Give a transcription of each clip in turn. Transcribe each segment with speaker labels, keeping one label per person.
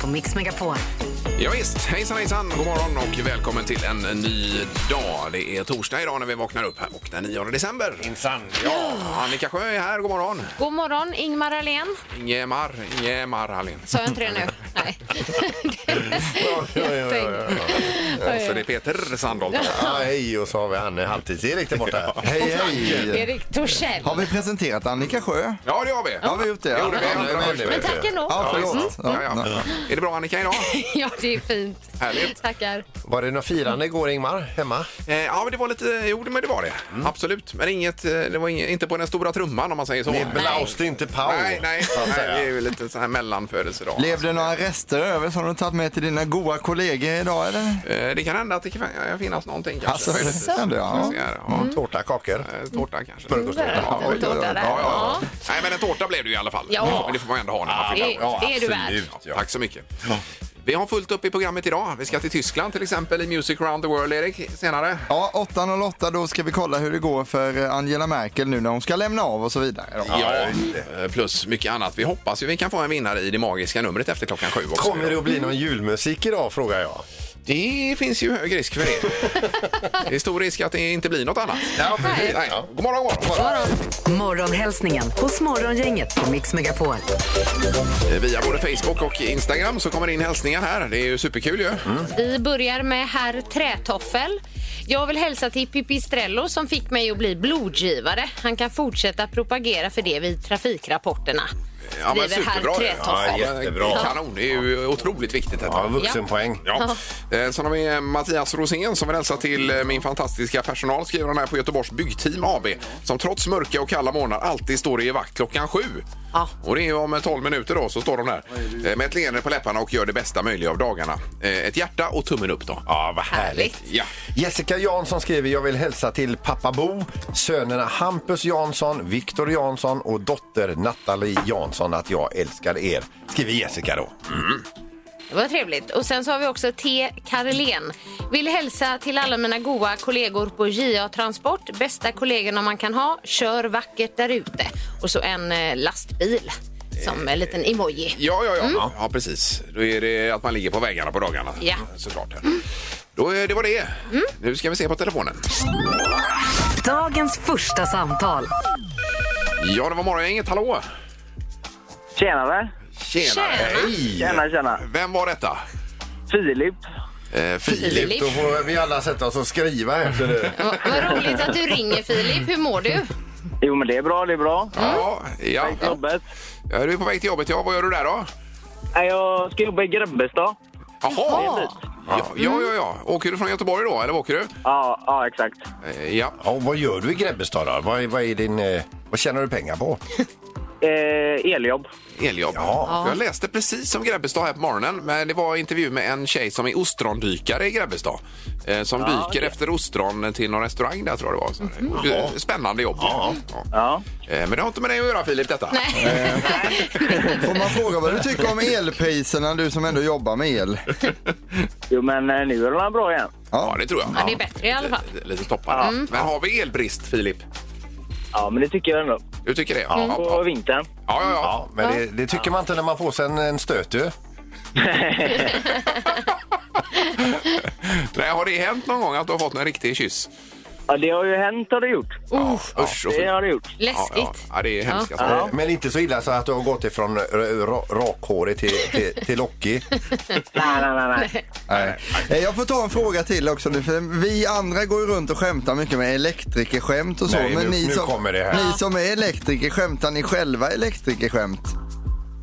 Speaker 1: på Mix Megapol.
Speaker 2: Ja, visst. hejsan hejsan, god morgon och välkommen till en ny dag. Det är torsdag idag när vi vaknar upp här och den 9 december.
Speaker 3: Minsann,
Speaker 2: Ja, Annika Sjö är här, god morgon.
Speaker 4: God morgon, Ingmar Ahlén.
Speaker 2: Ingemar, Ingemar Hallén.
Speaker 4: Sa jag inte det nu? Nej.
Speaker 2: Så det är Peter Sandholt.
Speaker 3: Ja, hej och så har vi han eh, halvtids-Erik där borta.
Speaker 5: Hej, hej!
Speaker 4: Erik Torssell.
Speaker 5: Har vi presenterat Annika Sjö?
Speaker 2: Ja, det har vi.
Speaker 5: Har vi gjort det? Ja,
Speaker 2: gjorde vi.
Speaker 5: ja,
Speaker 3: Han är med nu,
Speaker 4: Men
Speaker 3: vet
Speaker 4: tack
Speaker 3: du.
Speaker 4: ändå.
Speaker 5: ja, förlåt.
Speaker 3: Mm.
Speaker 2: Ja,
Speaker 5: Ja,
Speaker 2: ja. Är det bra Annika idag?
Speaker 4: Ja, det är fint.
Speaker 2: Härligt.
Speaker 4: Tackar.
Speaker 3: Var det något firande igår Ingmar, hemma?
Speaker 2: Eh, Ja, men det var lite, jo men det var det.
Speaker 3: Mm.
Speaker 2: Absolut. Men inget, eh, det var inget, inte på den stora trumman om man säger så.
Speaker 3: Ni blåste inte Pau.
Speaker 2: Nej, nej,
Speaker 3: så att
Speaker 2: nej,
Speaker 3: säga.
Speaker 2: det är ju lite så här mellanfödelsedag.
Speaker 5: Blev det några rester över som du tagit med till dina goda kollegor idag eller?
Speaker 2: Eh, Det kan hända att det kan eh, finnas någonting kanske.
Speaker 5: Alltså, det kan det, ja.
Speaker 2: Så ska jag göra,
Speaker 4: Mm.
Speaker 2: ja.
Speaker 3: Tårta, kakor.
Speaker 2: Eh, Tårta kanske.
Speaker 3: Smörgåstårta.
Speaker 2: Ja, oj, oj, oj.
Speaker 4: Tårta där.
Speaker 2: Ja, ja,
Speaker 4: Ja.
Speaker 2: ja. Nej, men en tårta blev det ju i alla fall.
Speaker 4: Ja.
Speaker 2: Men det får man ju ändå ha när man fyller
Speaker 4: Det,
Speaker 2: år.
Speaker 4: det är du värd.
Speaker 3: absolut.
Speaker 2: Ja, Tack så mycket. Vi har fullt upp i programmet idag. Vi ska till Tyskland till exempel i Music Around the World, Erik, senare.
Speaker 5: Ja, 8.08 då ska vi kolla hur det går för Angela Merkel nu när hon ska lämna av och så vidare. då.
Speaker 2: Ja, eh, plus mycket annat. Vi hoppas ju vi kan få en vinnare i det magiska numret efter klockan sju också.
Speaker 3: Kommer det att bli någon julmusik idag frågar jag.
Speaker 2: Det finns ju hög risk för det. det är stor risk att det inte blir något annat.
Speaker 3: Ja, precis.
Speaker 2: Nej.
Speaker 3: Ja.
Speaker 2: God morgon, god morgon.
Speaker 1: Morgonhälsningen hos Morgongänget på Mix Megapol.
Speaker 2: Eh, Via både Facebook och Instagram så kommer det in hälsningar här. Det är ju superkul ju.
Speaker 4: Vi börjar med herr Trätoffel. Jag vill hälsa till Pipistrello som fick mig att bli blodgivare. Han kan fortsätta propagera för det vid trafikrapporterna.
Speaker 2: Ja, men
Speaker 4: Skriver herr
Speaker 2: superbra. ju.
Speaker 4: Trätoffel.
Speaker 3: Ja, jättebra.
Speaker 2: Kanon, det är ju otroligt viktigt detta.
Speaker 3: Ja, vuxenpoäng.
Speaker 2: Ja. Eh, Sen har vi Mattias Rosén som vill hälsa till eh, min fantastiska personal skriver han här på Göteborgs Byggteam AB som trots mörka och kalla månader alltid står i vakt klockan sju.
Speaker 4: Ja.
Speaker 2: Och det är ju om eh, 12 minuter då så står de där eh, med ett leende på läpparna och gör det bästa möjliga av dagarna. Eh, Ett hjärta och tummen upp då.
Speaker 3: Ja, vad härligt.
Speaker 4: Härligt.
Speaker 2: Ja.
Speaker 3: Jessica Jansson skriver jag vill hälsa till pappa Bo, sönerna Hampus Jansson, Viktor Jansson och dotter Nathalie Jansson att jag älskar er. Skriver Jessica då.
Speaker 4: Det var trevligt. Och sen så har vi också T. Karlén. Vill hälsa till alla mina goa kollegor på JA Transport. Bästa kollegorna man kan ha. Kör vackert där ute. Och så en eh, lastbil som en liten emoji.
Speaker 2: Ja, ja, ja. ja, precis. Då är det att man ligger på vägarna på dagarna.
Speaker 4: Mm. Ja. Mm.
Speaker 2: Såklart. Då, eh, det var det. Nu ska vi se på telefonen.
Speaker 1: Dagens första samtal.
Speaker 2: Ja, det var morgongänget. Hallå!
Speaker 6: Tjenare!
Speaker 2: Tjena!
Speaker 6: Tjena, tjena!
Speaker 2: Vem var detta?
Speaker 6: Filip.
Speaker 2: Eh, Filip.
Speaker 4: Filip.
Speaker 3: Då får vi alla sätta oss och skriva efter det.
Speaker 4: Va- Vad roligt att du ringer Filip. Hur mår du?
Speaker 6: Jo, men det är bra, det är bra.
Speaker 2: Ja, ja.
Speaker 6: Tack till jobbet.
Speaker 2: ja, du är på väg till jobbet. Ja, vad gör du där då?
Speaker 6: Nej, Jag ska jobba i Grebbestad.
Speaker 2: Jaha! Ja, ja, ja, ja. Åker du från Göteborg då, eller vad åker du?
Speaker 6: Ja, ja, exakt.
Speaker 2: Eh, Ja.
Speaker 3: Ja, och vad gör du i Grebbestad då? Vad, är- vad, är din, eh, vad tjänar du pengar på?
Speaker 6: Eh, eljobb.
Speaker 2: Eljobb.
Speaker 3: Ja.
Speaker 2: Jag läste precis om Grebbestad här på morgonen, men det var en intervju med en tjej som är ostrondykare i Grebbestad. Eh, som dyker efter ostron till någon restaurang där tror jag det var. Så, eh, Spännande jobb. Ja.
Speaker 6: Ja.
Speaker 2: Eh, Men det har inte med dig att göra Filip detta.
Speaker 4: Nej.
Speaker 5: Får man fråga vad du tycker om elpriserna, du som ändå jobbar med el?
Speaker 6: Jo, men eh, nu är den bra igen.
Speaker 2: Ja, det tror jag.
Speaker 4: Ja, det är bättre i alla fall.
Speaker 2: Lite, lite toppar. Men har vi elbrist Filip?
Speaker 6: Ja, men det tycker jag ändå.
Speaker 2: Du tycker det? Ja, ja,
Speaker 6: På
Speaker 2: ja.
Speaker 6: vintern.
Speaker 2: ja, ja.
Speaker 3: Ja, men det, det tycker man inte när man får sig en, en stöt ju.
Speaker 2: Nej, har det hänt någon gång att du har fått en riktig kyss?
Speaker 6: Ja, det har ju hänt, har det gjort.
Speaker 4: Oh,
Speaker 2: Usch och fy.
Speaker 6: Det har det gjort.
Speaker 2: Ja, ja.
Speaker 4: läskigt.
Speaker 2: ja, det är hemskt.
Speaker 4: Ja.
Speaker 2: Alltså.
Speaker 3: Eh, Men inte så illa så att du har gått ifrån r- ra- rakhårig till, till, till lockig.
Speaker 6: Nej, nej, nej. nej.
Speaker 5: Nej. Eh, Jag får ta en fråga till också nu, för vi andra går ju runt och skämtar mycket med elektrikerskämt och så.
Speaker 3: Nej, nu-
Speaker 5: men ni
Speaker 3: nu
Speaker 5: som,
Speaker 3: kommer det här.
Speaker 5: ni som är elektriker, skämtar ni själva elektrikerskämt?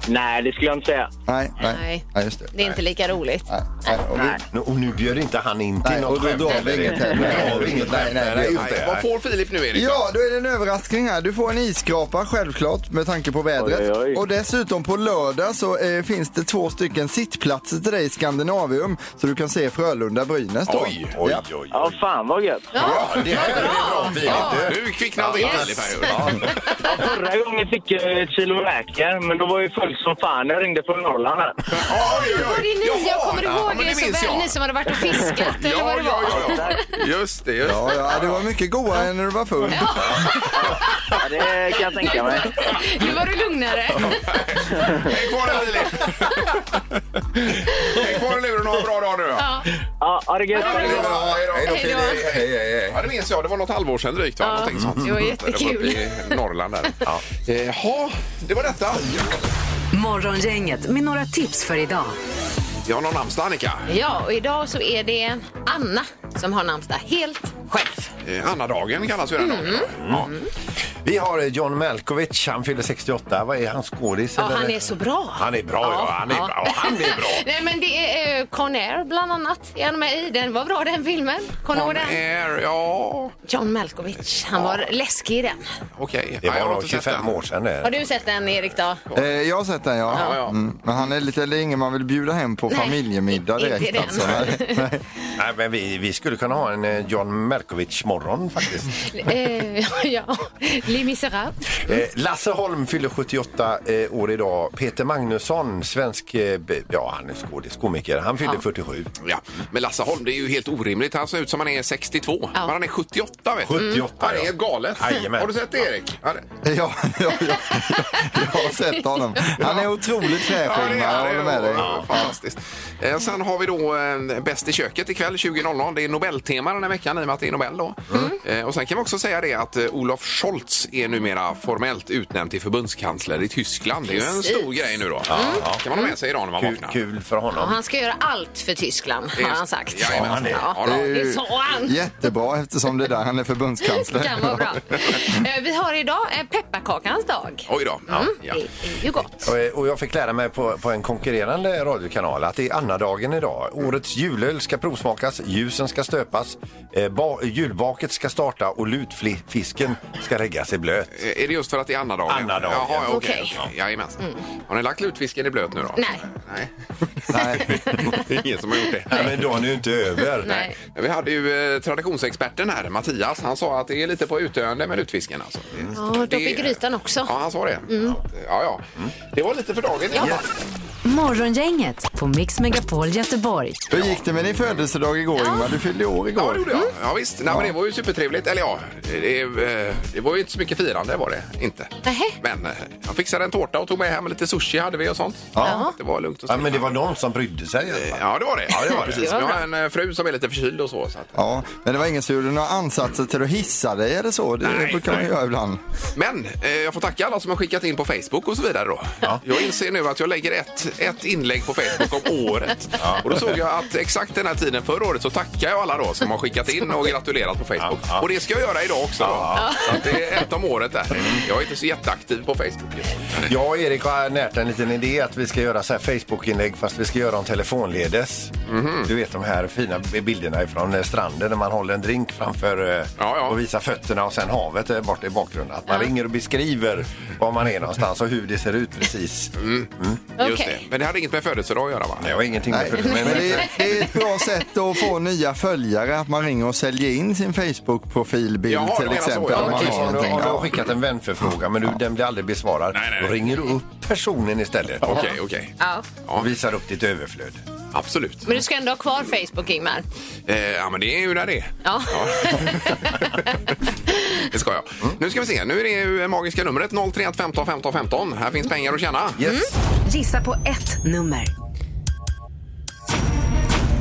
Speaker 6: nej, det skulle jag inte säga.
Speaker 5: Nej, nej.
Speaker 4: Nej.
Speaker 5: Ja, just det.
Speaker 4: Det är inte lika roligt.
Speaker 5: Nej, nej. Och vi,
Speaker 6: Nej.
Speaker 3: Nu- Och nu bjöd inte han in till
Speaker 5: Nej,
Speaker 3: något
Speaker 5: och då
Speaker 3: skämt.
Speaker 5: drar vi
Speaker 3: eller?
Speaker 5: inget här.
Speaker 3: Nej, då har vi inget
Speaker 5: Nej,
Speaker 3: skämt.
Speaker 5: nej,
Speaker 3: Nej,
Speaker 5: nej,
Speaker 3: just
Speaker 2: Nej,
Speaker 3: det.
Speaker 2: vad får Filip nu, Erik?
Speaker 5: Ja, då är det en överraskning här. Du får en isskrapa självklart med tanke på vädret.
Speaker 6: Oj, oj.
Speaker 5: Och dessutom på lördag så eh, finns det två stycken sittplatser till dig i Skandinavium så du kan se Frölunda-Brynäs då.
Speaker 2: Oj,
Speaker 3: Oj,
Speaker 5: Ja.
Speaker 3: oj, oj.
Speaker 6: Ja, fan vad gött.
Speaker 3: Ja, det här är bra Filip. du.
Speaker 2: Nu kvicknade till Filip här. ju.
Speaker 6: Förra gången fick jag ett kilo räkor, men då var jag full hög som fan när jag ringde från Norrland. här.
Speaker 2: Oj, oj,
Speaker 4: Var det ni? Jag kommer ihåg
Speaker 2: det
Speaker 4: det så
Speaker 2: minns
Speaker 4: väl.
Speaker 2: jag.
Speaker 4: Ni som hade varit och fiskat eller
Speaker 2: Ja,
Speaker 4: vad det var.
Speaker 2: ja, ja, ja. Just det, just det.
Speaker 5: Ja, ja, det var mycket godare än när du var full.
Speaker 6: Ja, det kan jag tänka mig.
Speaker 4: Nu var du lugnare.
Speaker 2: Häng kvar där, Filip. Häng kvar i luren och ha en bra dag nu. då.
Speaker 4: Ja.
Speaker 6: Ja, ha det gött.
Speaker 4: Ja, det är bra.
Speaker 3: Hej då,
Speaker 4: Hej då.
Speaker 3: Filip. Hej, hej, hej.
Speaker 2: Ja, det minns jag. Det var något halvår sedan drygt. Va?
Speaker 4: Ja.
Speaker 2: Någonting sånt.
Speaker 4: Det var
Speaker 2: Det var
Speaker 4: jättekul.
Speaker 2: uppe i Norrland där. Eh, Ja. Jaha, det var detta.
Speaker 1: Morgongänget med några tips för idag.
Speaker 2: Jag har någon namnsdag, Annika.
Speaker 4: ja, och idag så är det Anna som har namnsdag helt själv.
Speaker 2: Eh, Anna-dagen kallas ju den
Speaker 4: Mm.
Speaker 2: dagen. va?
Speaker 3: Vi har eh, John Malkovich, han fyller 68. Vad är han, skådis?
Speaker 4: Ja,
Speaker 3: eller?
Speaker 4: han är så bra.
Speaker 3: Han är bra, ja. Han är bra. Han är bra.
Speaker 4: Nej, men det är uh, Conair bland annat. Är han med i? Den var bra den filmen. Kommer
Speaker 2: Ja.
Speaker 4: du ihåg
Speaker 2: On
Speaker 4: den?
Speaker 2: air, ja.
Speaker 4: John Malkovich. Han var läskig i den.
Speaker 2: Okej.
Speaker 3: Det
Speaker 2: Ja, jag har
Speaker 3: var
Speaker 2: inte sett
Speaker 3: 25
Speaker 2: den.
Speaker 3: år sedan det.
Speaker 4: Har du sett den, Erik? Då?
Speaker 5: Eh, jag har sett den ja.
Speaker 2: Ja, ja.
Speaker 5: Mm. Men han är lite, det är ingen man vill bjuda hem på
Speaker 4: Nej,
Speaker 5: familjemiddag
Speaker 4: inte
Speaker 5: direkt
Speaker 4: den.
Speaker 5: alltså. Nej. Nej.
Speaker 3: Nej, men vi, vi skulle kunna ha en eh, John Malkovich-morgon faktiskt.
Speaker 4: Eh, ja, Les Misérables.
Speaker 3: Eh, Lasse Holm fyller 78 eh, år idag. Peter Magnusson, svensk, eh, b- ja han är skådis, komiker. Han fyller 47.
Speaker 2: Ja. Men Lasse Holm, det är ju helt orimligt. Han ser ut som han är 62. Men han är 78, vet du.
Speaker 3: 78,
Speaker 2: Han är
Speaker 3: ja.
Speaker 2: helt galet.
Speaker 3: Jajamän.
Speaker 2: Har du sett det, Erik? Han är-
Speaker 5: Ja, ja, ja. Jag har sett honom. Han är otroligt
Speaker 2: Ja,
Speaker 5: fräsch
Speaker 2: det
Speaker 5: Ingmar, jag
Speaker 2: är
Speaker 5: håller med dig.
Speaker 2: Ja, Fantastiskt. Eh, Sen har vi då eh, Bäst i köket ikväll 20.00. Det är Nobeltema den här veckan i och med att det är Nobel då. Eh, Och sen kan vi också säga det att eh, Olof Scholz är numera formellt utnämnd till förbundskansler i Tyskland. Det är ju en
Speaker 4: Precis.
Speaker 2: stor grej nu då. Mm. kan man ha med sig idag när man
Speaker 3: Kul,
Speaker 2: vaknar.
Speaker 3: kul för
Speaker 4: Och
Speaker 3: honom.
Speaker 4: han ska göra allt för Tyskland,
Speaker 2: Det är-
Speaker 4: har han sagt.
Speaker 2: Jajamän.
Speaker 3: Sa han det?
Speaker 2: Ja,
Speaker 4: Ja,
Speaker 5: Det är
Speaker 4: det
Speaker 5: ju
Speaker 4: sa han.
Speaker 5: Jättebra eftersom det är där han är
Speaker 4: Det kan vara
Speaker 5: förbundskansler.
Speaker 4: bra. Eh, Vi har idag eh, pepparkakans dag.
Speaker 2: Oj då. Ja,
Speaker 4: Mm,
Speaker 2: ja.
Speaker 4: Det är ju gott.
Speaker 3: Och, eh, Och jag fick lära mig på, på en konkurrerande radiokanal att det är Anna-dagen idag. Årets julöl ska provsmakas, ljusen ska stöpas, eh, ba, julbaket ska starta och lutfisken ska läggas i blöt.
Speaker 2: Eh, Är det just för att det är Anna-dagen?
Speaker 3: Anna-dagen.
Speaker 2: Jaha, okej.
Speaker 4: Okej.
Speaker 2: Ja, Jajamensan. Har ni lagt lutfisken i blöt nu då?
Speaker 4: Nej.
Speaker 2: Nej.
Speaker 5: Nej.
Speaker 2: Det är ingen som har gjort det.
Speaker 3: Nej, men dagen är ju inte över.
Speaker 4: Nej.
Speaker 2: Vi hade ju eh, traditionsexperten här, Mattias. Han sa att det är lite på utdöende med lutfisken. Alltså.
Speaker 4: Ja, dopp i grytan också. Mm.
Speaker 2: Ja, han sa det. Ja, ja. Det var lite för dagen.
Speaker 4: Ja.
Speaker 2: Ja.
Speaker 1: Morgongänget på Mix Megapol Göteborg.
Speaker 5: Hur gick det med din födelsedag igår Ingmar? Du fyllde år
Speaker 2: Ja, det
Speaker 5: igår.
Speaker 2: gjorde
Speaker 4: Mm.
Speaker 2: jag. Ja, visst. Nej, men det var ju supertrevligt. Eller ja, det, eh, det var ju inte så mycket firande var det inte.
Speaker 4: Nähä.
Speaker 2: Men eh, jag fixade en tårta och tog med hem lite sushi hade vi och sånt.
Speaker 4: Ja.
Speaker 2: Det var lugnt och
Speaker 3: Ja,
Speaker 2: stilla.
Speaker 3: men det var någon som brydde sig. i alla fall.
Speaker 2: Ja, det var det. Ja, det var det. Precis.
Speaker 4: Det var
Speaker 2: Men jag
Speaker 4: bra.
Speaker 2: har en eh, fru som är lite förkyld och så. så att...
Speaker 5: Ja, men det var ingen som gjorde några ansatser till att hissa dig eller så. Det
Speaker 2: Nej,
Speaker 5: brukar man
Speaker 2: nej.
Speaker 5: göra ibland.
Speaker 2: Men eh, jag får tacka alla som har skickat in på Facebook och så vidare då. Jag inser nu att jag lägger ett, ett inlägg på Facebook om året. Och då såg jag att exakt den här tiden förra året så tackar jag alla då som har skickat in och gratulerat på Facebook. Och det ska jag göra idag också då. Så att det är ett om året där. Jag är inte så jätteaktiv på Facebook just nu.
Speaker 3: Jag och Erik har närt en liten idé att vi ska göra så här Facebook-inlägg fast vi ska göra dem telefonledes.
Speaker 2: Mhm.
Speaker 3: Du vet de här fina bilderna från stranden när man håller en drink framför eh,
Speaker 2: Ja, ja.
Speaker 3: och visar fötterna och sen havet eh, borta i bakgrunden. Att man
Speaker 4: Ja.
Speaker 3: ringer och beskriver var man är någonstans och hur det ser ut precis.
Speaker 2: Mm. Just det.
Speaker 4: Okej.
Speaker 2: Men det hade inget med födelsedag att göra va?
Speaker 3: Nej, jag har ingenting med
Speaker 5: Nej,
Speaker 3: fötterna
Speaker 5: men det
Speaker 3: men
Speaker 5: är, det är ett bra sätt att få nya följare, att man ringer och säljer in sin Facebook-profilbild
Speaker 2: Jaha, du
Speaker 5: till
Speaker 2: menar så,
Speaker 5: exempel.
Speaker 2: ja.
Speaker 5: om man
Speaker 2: Okej,
Speaker 5: har
Speaker 3: om du, om
Speaker 5: någonting.
Speaker 3: du har
Speaker 5: Ja.
Speaker 3: skickat en vänförfrågan men du, den blir aldrig besvarad,
Speaker 2: Nej, nej,
Speaker 3: då
Speaker 2: nej.
Speaker 3: ringer du upp personen istället
Speaker 2: Okej, okej.
Speaker 4: Ja.
Speaker 3: och visar upp ditt överflöd.
Speaker 2: Absolut.
Speaker 4: Men du ska ändå ha kvar Facebook, Ingmar.
Speaker 2: Eh, ja, men det är ju där det är.
Speaker 4: Ja.
Speaker 2: Det ska jag. Nu ska vi se. Nu är det ju magiska numret 031 15 15 15. Här finns pengar att tjäna.
Speaker 3: Yes.
Speaker 2: Mm.
Speaker 1: Gissa på ett nummer.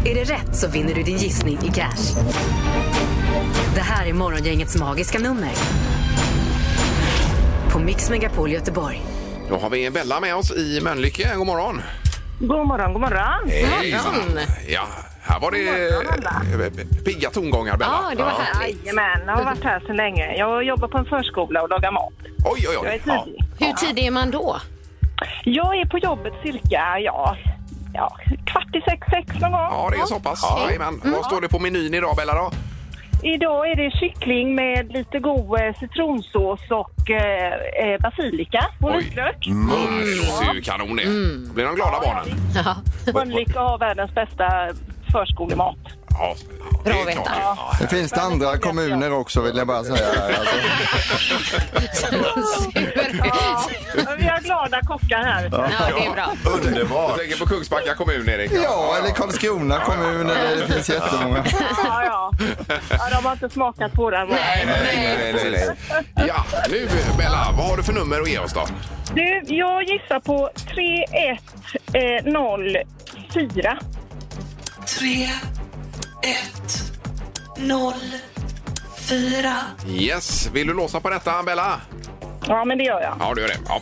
Speaker 1: Är det rätt så vinner du din gissning i cash. Det här är Morgongängets magiska nummer. På Mix Megapol Göteborg.
Speaker 2: Då har vi Bella med oss i Mölnlycke. God morgon!
Speaker 7: God morgon, god morgon.
Speaker 2: Hejsan. Ja, här var det eh, pigga tongångar, Bella.
Speaker 4: Ja, det var härligt.
Speaker 7: Jajamän, jag har varit här så länge. Jag jobbar på en förskola och lagar mat.
Speaker 2: Oj, oj,
Speaker 7: Jag är
Speaker 2: oj. Ja.
Speaker 7: tidig.
Speaker 4: Hur tidig är man då?
Speaker 7: Jag är på jobbet cirka, ja, ja kvart i sex, sex någon gång.
Speaker 2: Ja, det är så pass. Jajamän.
Speaker 4: Mm.
Speaker 2: Vad står det på menyn idag, Bella? Då?
Speaker 7: Idag är det kyckling med lite god eh, citronsås och eh, eh, basilika och
Speaker 2: Oj.
Speaker 7: vitlök.
Speaker 2: Mm. Det låter ju kanon det. Då blir de glada barnen.
Speaker 4: Mm. Ja.
Speaker 7: Mölnlycke har världens bästa förskolemat.
Speaker 2: Ja, Ja, det
Speaker 4: Bra
Speaker 2: är
Speaker 4: att veta.
Speaker 2: klart. Ja.
Speaker 5: Det finns det andra kommuner också vill jag bara säga. här, Alltså.
Speaker 7: Men Vi har glada kockar här.
Speaker 4: Ja, det är bra.
Speaker 2: Jag
Speaker 3: Underbart!
Speaker 2: tänker på Kungsbacka kommun, Erik.
Speaker 5: Ja, eller Karlskrona kommun, eller det finns jättemånga.
Speaker 7: Ja, ja. ja de har inte smakat på den.
Speaker 2: Nej, nej, nej, nej, nej, nej. Ja, nu Bella, vad har du för nummer att ge oss då?
Speaker 7: Du, jag gissar på eh, 3104.
Speaker 8: 3, 1, 0, 4.
Speaker 2: Yes, vill du låsa på detta Bella?
Speaker 7: Ja, men det gör jag.
Speaker 2: Ja, du gör det. Ja.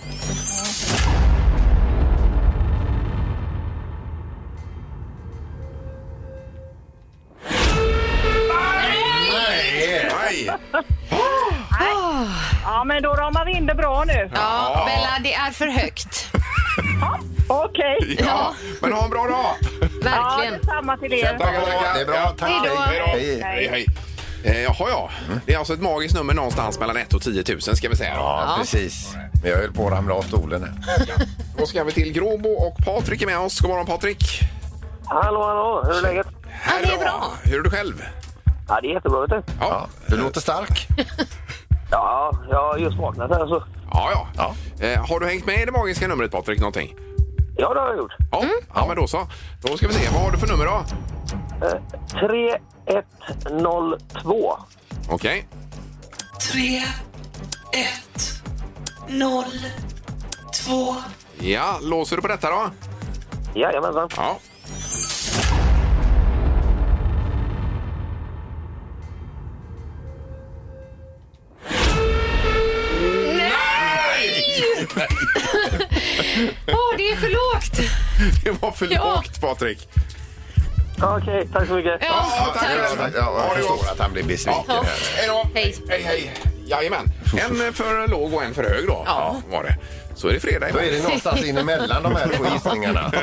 Speaker 3: Nej.
Speaker 2: Nej!
Speaker 7: Ja, men då ramar vi in det bra nu.
Speaker 4: Ja, Bella, det är för högt.
Speaker 7: Okej.
Speaker 2: Ja, men ha en bra dag!
Speaker 7: Ja,
Speaker 4: Verkligen.
Speaker 7: detsamma till er.
Speaker 2: Tackar, tackar.
Speaker 3: Det är bra. Tack.
Speaker 4: Hej då.
Speaker 2: Hej då.
Speaker 3: Hej.
Speaker 2: Hej, hej. Eh, jaha, ja. Det är alltså ett magiskt nummer någonstans mellan 1 och 10 000 ska vi säga. då.
Speaker 3: Ja, precis. Men jag höll på att ramla av stolen. här.
Speaker 2: Då ska vi till Gråbo och Patrik är med oss. God morgon Patrik!
Speaker 6: Hallå, hallå. Hur är läget?
Speaker 2: Här
Speaker 4: det är bra.
Speaker 2: Hur är du själv?
Speaker 6: Ja, det är jättebra, vet du.
Speaker 2: Ja,
Speaker 3: Du låter stark.
Speaker 6: Ja, jag har just vaknat här så.
Speaker 2: ja. ja. Eh, har du hängt med i det magiska numret Patrik någonting?
Speaker 6: Ja, det har jag gjort.
Speaker 2: Ja,
Speaker 4: Mm.
Speaker 2: ja men då så. Då ska vi se, vad har du för nummer då?
Speaker 6: 3102.
Speaker 2: Okej.
Speaker 8: 3, 1, 0, 2.
Speaker 2: Ja, låser du på detta då?
Speaker 6: Jajamensan.
Speaker 2: Ja.
Speaker 4: Åh, det är för lågt.
Speaker 2: Det var för
Speaker 4: Ja.
Speaker 2: lågt Patrik.
Speaker 6: Okej, tack så mycket.
Speaker 4: Ja, tack.
Speaker 3: Ja, Jag förstår att han blir besviken.
Speaker 2: Ja.
Speaker 3: här.
Speaker 2: Hej då!
Speaker 4: Hej.
Speaker 2: hej, hej. Jajamän. En för låg och en för hög då. Ja. Var det. Så är det fredag
Speaker 3: Då är det någonstans in emellan de här två gissningarna.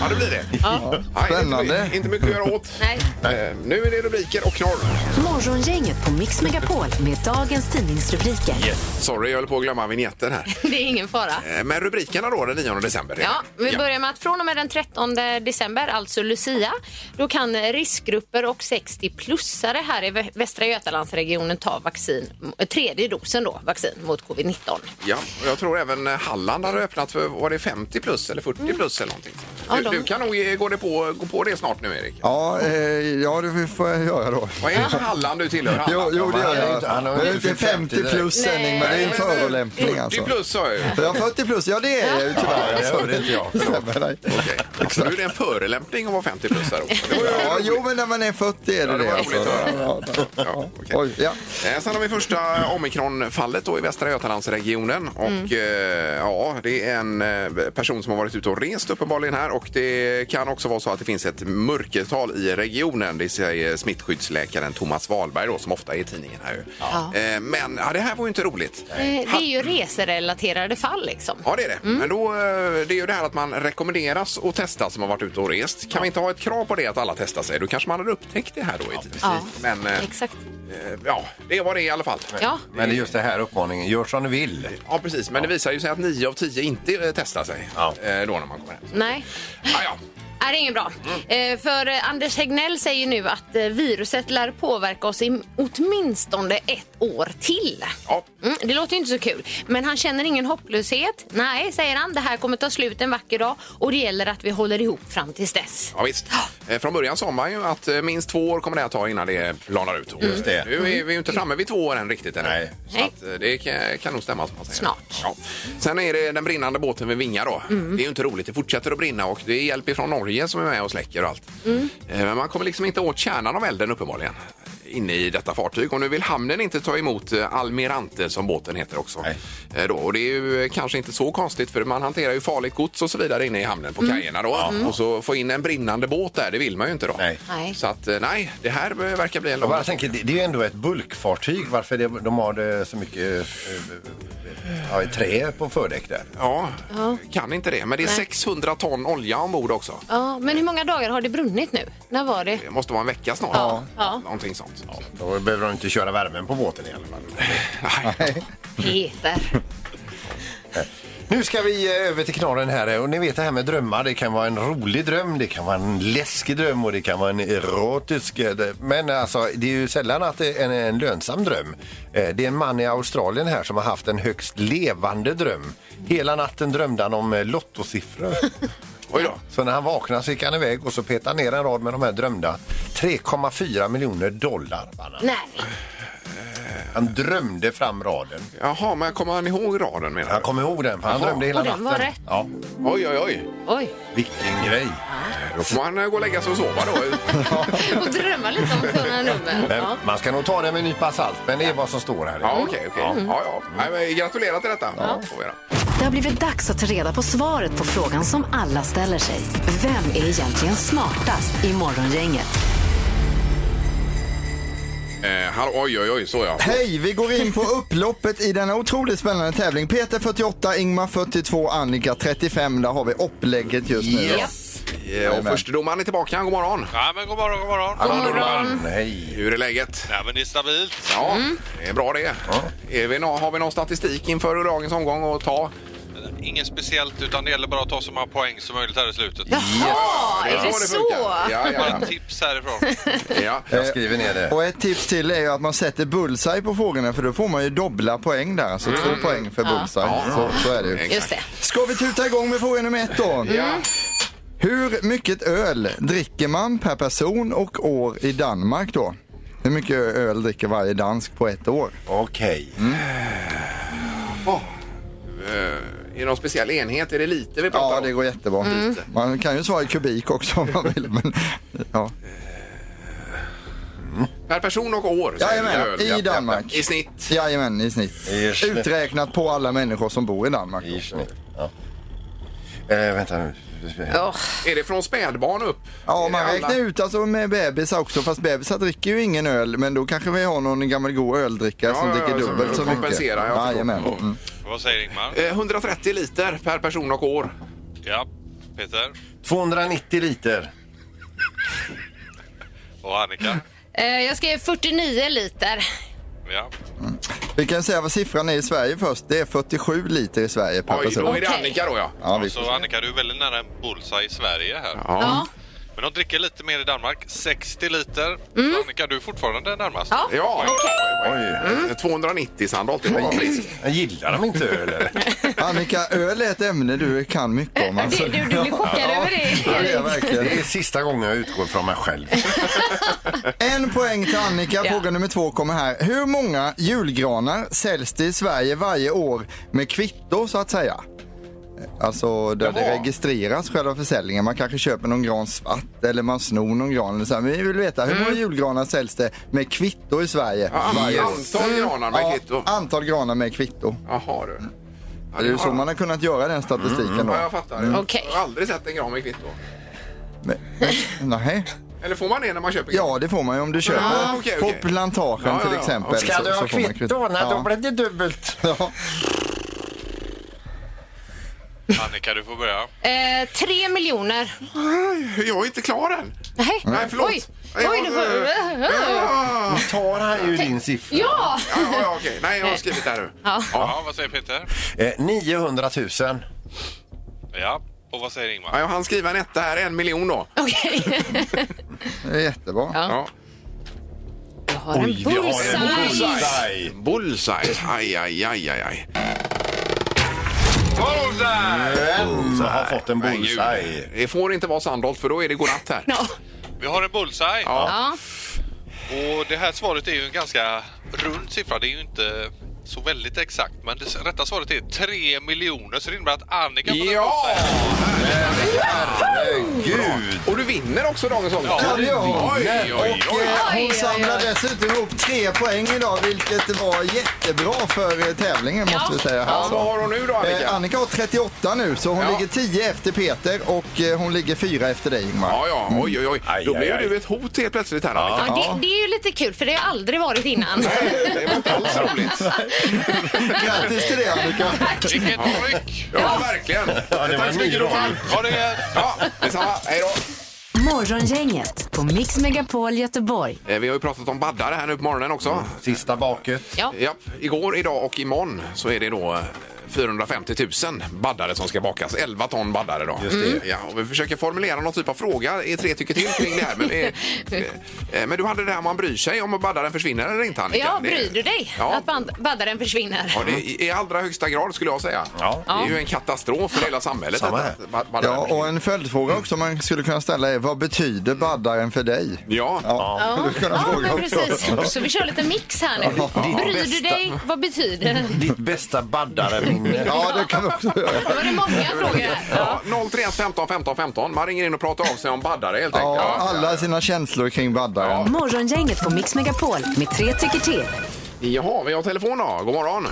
Speaker 2: Ja, det blir det. Nej,
Speaker 5: Spännande.
Speaker 2: Inte, inte mycket att göra åt.
Speaker 4: Nej.
Speaker 2: Eh, nu är det rubriker och knorr.
Speaker 1: Morgongänget på Mix Megapol med dagens tidningsrubriker.
Speaker 2: Sorry, jag höll på att glömma vignetten här.
Speaker 4: Det är ingen fara.
Speaker 2: Eh, Men rubrikerna då, den 9 december.
Speaker 4: Ja, vi börjar med att från och med den 13 december, alltså Lucia, då kan riskgrupper och 60-plussare här i Vä- Västra Götalandsregionen ta vaccin, eh, tredje dosen då, vaccin mot covid-19.
Speaker 2: Ja, och jag tror även eh, Halland har öppnat för, var det 50 plus eller 40 plus eller någonting?
Speaker 4: Ja,
Speaker 2: du,
Speaker 4: de-
Speaker 2: du kan nog eh, gå, det på, gå på det snart nu, Erik.
Speaker 5: Ja, eh, ja, det får jag göra då.
Speaker 2: Vad är det för Halland du tillhör?
Speaker 5: Jo,
Speaker 2: Halland?
Speaker 5: jo det gör
Speaker 3: Han har ju
Speaker 5: jag.
Speaker 3: inte- han har
Speaker 5: Det är
Speaker 3: ju
Speaker 5: inte
Speaker 3: inte fyllt 50
Speaker 5: 50 plus sändning, men det är en förolämpning
Speaker 2: 40
Speaker 5: alltså.
Speaker 2: plus sa jag ju.
Speaker 5: För jag har 40 plus, ja det är jag ju
Speaker 3: Ja,
Speaker 5: tyvärr.
Speaker 3: det hörde inte jag.
Speaker 5: Stämmer dig.
Speaker 2: Okej. Så nu är det en förolämpning att vara 50 plus här också. Det var ju
Speaker 5: Ja,
Speaker 2: roligt.
Speaker 5: jo men när man är 40 är det
Speaker 2: Ja, det
Speaker 5: det
Speaker 2: var
Speaker 5: alltså.
Speaker 2: roligt att
Speaker 5: Ja, ja.
Speaker 2: Ja, okej.
Speaker 5: Oj, ja.
Speaker 2: Eh, Sen har vi första omikronfallet då i Västra Götalandsregionen. Och,
Speaker 4: Mm.
Speaker 2: eh, ja, det är en eh, person som har varit ute och rest uppenbarligen här. Och det kan också vara så att det finns ett mörkertal i regionen. Det säger smittskyddsläkaren Thomas Wahlberg då, som ofta är i tidningen här. ju. Eh, Men ja, det här var ju inte roligt.
Speaker 4: Eh, Det är ju reserelaterade fall liksom.
Speaker 2: Ja, det är det. Men då, eh, det är ju det här att man rekommenderas att testa som har varit ute och rest. Kan vi inte ha ett krav på det att alla testar sig? Då kanske man hade upptäckt det här då i tid.
Speaker 4: Ja,
Speaker 2: Men eh,
Speaker 4: Exakt.
Speaker 2: eh, ja, det var det i alla fall.
Speaker 4: Ja.
Speaker 3: Men det är just det här uppmaningen, gör som du vill.
Speaker 2: Ja, precis. Men det visar ju sig att 9 av 10 inte eh, testar sig
Speaker 3: Ja.
Speaker 2: eh, då när man kommer hem.
Speaker 4: Nej.
Speaker 2: Ah, ja.
Speaker 4: Nej, det är inget bra. Eh, För eh, Anders Tegnell säger ju nu att eh, viruset lär påverka oss i åtminstone ett år till.
Speaker 2: Ja.
Speaker 4: Mm, det låter ju inte så kul, men han känner ingen hopplöshet. Nej, säger han, det här kommer ta slut en vacker dag och det gäller att vi håller ihop fram tills dess.
Speaker 2: Ja, visst. Eh, Från början sa man ju att eh, minst två år kommer det att ta innan det planar ut. Och
Speaker 3: Just det. Mm.
Speaker 2: Nu är vi ju inte framme vid två år än riktigt. Än.
Speaker 3: Nej.
Speaker 2: Så att, eh, det kan, kan nog stämma som man säger.
Speaker 4: Snart.
Speaker 2: Ja. Sen är det den brinnande båten vid Vinga då.
Speaker 4: Mm.
Speaker 2: Det är ju inte roligt. Det fortsätter att brinna och det är hjälp från Norge som är med och släcker och allt.
Speaker 4: Mm.
Speaker 2: Eh, Men man kommer liksom inte åt kärnan av elden uppenbarligen inne i detta fartyg och nu vill hamnen inte ta emot eh, Almirante som båten heter också.
Speaker 3: Nej.
Speaker 2: Eh, Då. Och det är ju eh, kanske inte så konstigt för man hanterar ju farligt gods och så vidare inne i hamnen
Speaker 4: Mm.
Speaker 2: på kajerna då. Och så få in en brinnande båt där, det vill man ju inte då.
Speaker 3: Nej.
Speaker 4: Nej.
Speaker 2: Så att eh, nej, det här eh, verkar bli en
Speaker 3: Jag
Speaker 2: lång...
Speaker 3: bara tänker, det det är ju ändå ett bulkfartyg. Varför det, de har det så mycket eh, ja, trä på fördäck där?
Speaker 2: Ja, kan inte det. Men det är
Speaker 4: Nej.
Speaker 2: 600 ton olja ombord också.
Speaker 4: Ja, men hur många dagar har det brunnit nu? När var det?
Speaker 2: Det måste vara en vecka snart.
Speaker 4: Ja. Ja.
Speaker 2: Någonting sånt.
Speaker 3: Då behöver de inte köra värmen på båten i alla fall.
Speaker 2: Nej.
Speaker 4: Peter.
Speaker 3: Nu ska vi eh, över till knorren här. Och ni vet det här med drömmar. Det kan vara en rolig dröm, det kan vara en läskig dröm och det kan vara en erotisk. eh, dröm. Men alltså, det är ju sällan att det är en, en lönsam dröm. Eh, Det är en man i Australien här som har haft en högst levande dröm. Hela natten drömde han om eh, lottosiffror.
Speaker 2: Oj då.
Speaker 3: Så när han vaknade så gick han iväg och så petade han ner en rad med de här drömda 3,4 miljoner dollar. Banna.
Speaker 4: Nej.
Speaker 3: Han drömde fram raden.
Speaker 2: Jaha, men kommer han ihåg raden menar
Speaker 3: Han
Speaker 2: du?
Speaker 3: kom ihåg den, för han
Speaker 2: Jaha.
Speaker 3: drömde hela
Speaker 4: Och den
Speaker 3: natten.
Speaker 4: var rätt.
Speaker 3: Ja,
Speaker 2: Oj, oj, oj.
Speaker 4: Oj.
Speaker 3: vilken grej.
Speaker 2: Då får man eh, gå och lägga sig och sova då.
Speaker 4: Och drömma lite om kunna nummer.
Speaker 3: Men
Speaker 4: Ja.
Speaker 3: Man ska nog ta det med en nypa salt, men det är vad som står här.
Speaker 2: Ja, okej, okej. Ja, ja. Nej, men gratulerar till detta. Får vi göra.
Speaker 1: Det har blivit dags att ta reda på svaret på frågan som alla ställer sig. Vem är egentligen smartast i Morgongänget?
Speaker 2: Eh, hallå, oj, oj, oj, så ja.
Speaker 5: Hej! Vi går in på upploppet i denna otroligt spännande tävling. Peter 48, Ingmar 42, Annika 35. Där har vi upplägget just nu.
Speaker 2: Yes. Eh, Och förstedomaren är tillbaka. God morgon.
Speaker 9: Ja, men god morgon, god morgon.
Speaker 3: God morgon. Hej.
Speaker 2: Hur är läget?
Speaker 9: Nej, men det är stabilt.
Speaker 2: Ja, det är bra det. Är vi, nå- har vi någon statistik inför dagens omgång att ta?
Speaker 9: Inget speciellt, utan det gäller bara att ta så många poäng som möjligt här i slutet.
Speaker 4: Jaha,
Speaker 2: Ja,
Speaker 4: är det så?
Speaker 2: funkar. Ja,
Speaker 9: Bara
Speaker 2: ja,
Speaker 9: ett tips härifrån.
Speaker 2: ja. ja.
Speaker 3: Jag skriver ner det.
Speaker 5: Eh, Och ett tips till är ju att man sätter bullseye på frågorna för då får man ju dubbla poäng där. Så
Speaker 2: Mm.
Speaker 5: två poäng för bullseye. Så, så är det ju.
Speaker 4: Just det.
Speaker 5: Ska vi tuta igång med fråga nummer ett då?
Speaker 4: Mm.
Speaker 5: Hur mycket öl dricker man per person och år i Danmark då? Hur mycket öl dricker varje dansk på ett år?
Speaker 3: Okej.
Speaker 2: Eh, Är det någon speciell enhet? Är det lite vi pratar
Speaker 5: Ja,
Speaker 2: om?
Speaker 5: det går jättebra. Man kan ju svara i kubik också om man vill. Men, ja.
Speaker 2: Per person och år? säger vi.
Speaker 5: Jajamän,
Speaker 2: Öl, ja.
Speaker 5: i Danmark.
Speaker 2: I snitt?
Speaker 5: Jajamän, i snitt.
Speaker 3: I snitt.
Speaker 5: Uträknat på alla människor som bor i Danmark.
Speaker 3: I snitt. Ja. Eh, vänta nu.
Speaker 4: Åh,
Speaker 2: Är det från spädbarn upp?
Speaker 5: Ja,
Speaker 2: Är
Speaker 5: man
Speaker 2: det alla?
Speaker 5: räknar ut alltså med bebisar också, fast bebisar dricker ju ingen öl, men då kanske vi har någon gammal god öldrickare
Speaker 2: Ja,
Speaker 5: som
Speaker 2: ja,
Speaker 5: dricker
Speaker 2: ja, så
Speaker 5: dubbelt så mycket.
Speaker 2: kompenserar, jag förstår.
Speaker 5: Jajamän.
Speaker 2: Ja.
Speaker 5: Mm.
Speaker 9: Vad säger Ingmar?
Speaker 2: Eh, 130 liter per person och år.
Speaker 9: Ja, Peter
Speaker 3: 290 liter.
Speaker 9: och Annika.
Speaker 4: eh, Jag skrev 49 liter.
Speaker 9: Ja.
Speaker 5: Vi kan säga vad siffran är i Sverige först. Det är 47 liter i Sverige per
Speaker 2: Oj, då
Speaker 5: person.
Speaker 2: är det
Speaker 4: Okej.
Speaker 2: Annika då ja.
Speaker 5: Ja, vi-
Speaker 9: Och så Alltså, Annika, du är väldigt nära en bullseye i Sverige här.
Speaker 4: Ja.
Speaker 9: Men de dricker lite mer i Danmark. 60 liter. Annika, du är fortfarande närmast.
Speaker 4: Ja.
Speaker 2: Ja,
Speaker 3: Oj.
Speaker 2: Eh, 290 Sandholt, det var friskt.
Speaker 3: Jag gillar de inte öl eller?
Speaker 5: Annika, öl är ett ämne du kan mycket om. Alltså.
Speaker 4: Du, du, du blir chockad över
Speaker 5: Ja,
Speaker 4: det.
Speaker 5: det är jag verkligen.
Speaker 3: Det är sista gången jag utgår från mig själv.
Speaker 5: En poäng till Annika.
Speaker 4: Ja.
Speaker 5: Fråga nummer två kommer här. Hur många julgranar säljs det i Sverige varje år med kvitto så att säga? Alltså där det
Speaker 2: Jaha.
Speaker 5: registreras själva försäljningen. Man kanske köper någon gran svart eller man snor någon gran. Eller så här. Men vi vill veta hur många julgranar säljs det med kvitto i Sverige?
Speaker 2: Mm. Ja,
Speaker 5: varje år? Mm.
Speaker 2: antal granar med kvitto.
Speaker 5: Antal granar med kvitto.
Speaker 2: Jaha du.
Speaker 5: Det är ju så man har kunnat göra den statistiken
Speaker 2: Mm, Ja,
Speaker 5: då.
Speaker 2: jag fattar.
Speaker 4: Okej.
Speaker 2: Jag har aldrig sett en gran med kvitto.
Speaker 5: Men, men, nej.
Speaker 2: Eller får man det när man köper
Speaker 5: Ja, det får man ju om du köper
Speaker 2: Ah, okej, okej.
Speaker 5: på plantagen
Speaker 2: Ja, ja,
Speaker 5: till
Speaker 2: ja.
Speaker 5: exempel.
Speaker 3: Ska
Speaker 5: så-
Speaker 3: du
Speaker 5: så
Speaker 3: ha
Speaker 5: får man
Speaker 3: kvitto? Nej,
Speaker 5: Ja.
Speaker 3: då blir det dubbelt.
Speaker 5: Ja.
Speaker 9: Annika, du får börja.
Speaker 4: Eh, 3 miljoner.
Speaker 2: gran? Jag är inte klar än.
Speaker 4: Nej.
Speaker 2: Nej, förlåt.
Speaker 4: Oj, oj, nu får du...
Speaker 2: Ja,
Speaker 3: Tar han ju din siffra?
Speaker 4: Ja!
Speaker 2: ja, Ah, ja, okej. Nej, jag har skrivit det här nu.
Speaker 4: Ja.
Speaker 9: Ja, vad säger Peter?
Speaker 3: Eh, 900 000.
Speaker 9: Ja. Och vad säger Ingmar?
Speaker 2: Ja, jag hann skriva en etta här, en miljon då.
Speaker 4: Okej.
Speaker 5: Det är jättebra.
Speaker 2: Ja.
Speaker 4: Jag har en bullseye.
Speaker 3: bullseye.
Speaker 2: Bullseye. Aj, aj, aj, aj, aj.
Speaker 3: Vem har fått en
Speaker 2: Men gud,
Speaker 3: bullseye?
Speaker 2: Det får inte vara Sandholt för då är det godnatt här.
Speaker 4: Ja.
Speaker 9: Vi har en bullseye.
Speaker 4: Ja.
Speaker 9: Och det här svaret är ju en ganska rund siffra. Det är ju inte så väldigt exakt. Men det rätta svaret är 3 miljoner. Så det innebär att Annika får en
Speaker 2: Ja!
Speaker 9: bullseye.
Speaker 3: Gud!
Speaker 2: Och du vinner också dagens omgång.
Speaker 9: Ja,
Speaker 5: det gör hon.
Speaker 2: Oj, oj,
Speaker 5: Och
Speaker 2: oj.
Speaker 5: eh,
Speaker 4: Oj,
Speaker 5: hon
Speaker 4: oj,
Speaker 5: samlar
Speaker 4: oj.
Speaker 5: dessutom ihop tre poäng idag vilket var jättebra för eh, tävlingen måste vi säga. här,
Speaker 2: Ja,
Speaker 5: så.
Speaker 2: vad har hon nu då, Annika?
Speaker 5: Eh, Annika har 38 nu så hon
Speaker 2: Ja.
Speaker 5: ligger 10 efter Peter och eh, hon ligger 4 efter dig Ingmar.
Speaker 2: Ja, ja, oj, oj, oj.
Speaker 3: Aj,
Speaker 2: Då blir
Speaker 3: aj,
Speaker 2: ju
Speaker 3: aj.
Speaker 2: du ett hot helt plötsligt här, Annika.
Speaker 4: Ja, det, det är ju lite kul för det har jag aldrig varit innan.
Speaker 2: Det var inte alls roligt.
Speaker 5: Grattis till det Annika.
Speaker 9: Vilket tryck!
Speaker 2: Ja, verkligen.
Speaker 3: det var
Speaker 2: Tack så mycket,
Speaker 3: en ny
Speaker 2: Roland.
Speaker 9: Ha det gött!
Speaker 2: Ja, detsamma. Hej då.
Speaker 1: Morgongänget på Mix Megapol Göteborg.
Speaker 2: Eh, Vi har ju pratat om baddare här nu på morgonen också.
Speaker 3: Sista baket.
Speaker 4: Ja.
Speaker 2: Japp, igår, idag och imorgon så är det då eh, 450 000 baddare som ska bakas. 11 ton baddare då. Just det. Ja, och vi försöker formulera någon typ av fråga i tre tycker till kring det här. Men, eh, eh, men du hade det här man bryr sig om att baddaren försvinner eller inte Annika.
Speaker 4: Ja,
Speaker 2: Det-
Speaker 4: bryr du dig
Speaker 2: Ja.
Speaker 4: att band- baddaren försvinner?
Speaker 2: Ja, det är I allra högsta grad skulle jag säga.
Speaker 3: Ja.
Speaker 2: Det är ju en katastrof för hela samhället.
Speaker 3: Samma
Speaker 2: detta.
Speaker 3: här.
Speaker 2: Ba- ba-
Speaker 5: Ja, och en följdfråga också man skulle kunna ställa är vad
Speaker 2: Mm.
Speaker 5: betyder baddaren för dig?
Speaker 2: ja.
Speaker 4: Ja,
Speaker 5: Du kunde
Speaker 4: ja
Speaker 5: fråga
Speaker 4: men
Speaker 5: också.
Speaker 4: precis. Så vi kör lite mix här nu. Bryr du
Speaker 3: bästa.
Speaker 4: dig? Vad betyder det?
Speaker 3: Ditt bästa baddareminne.
Speaker 5: Ja, det kan vi också göra.
Speaker 4: Då var det många frågor här. Ja.
Speaker 2: Ja. 031 15 15 15. Man ringer in och pratar av sig om baddare helt enkelt.
Speaker 5: Ja, alla sina känslor kring baddaren.
Speaker 1: Morgongänget på Mix Megapol med tre tycker till.
Speaker 2: Jaha, vi har telefon då. God morgon.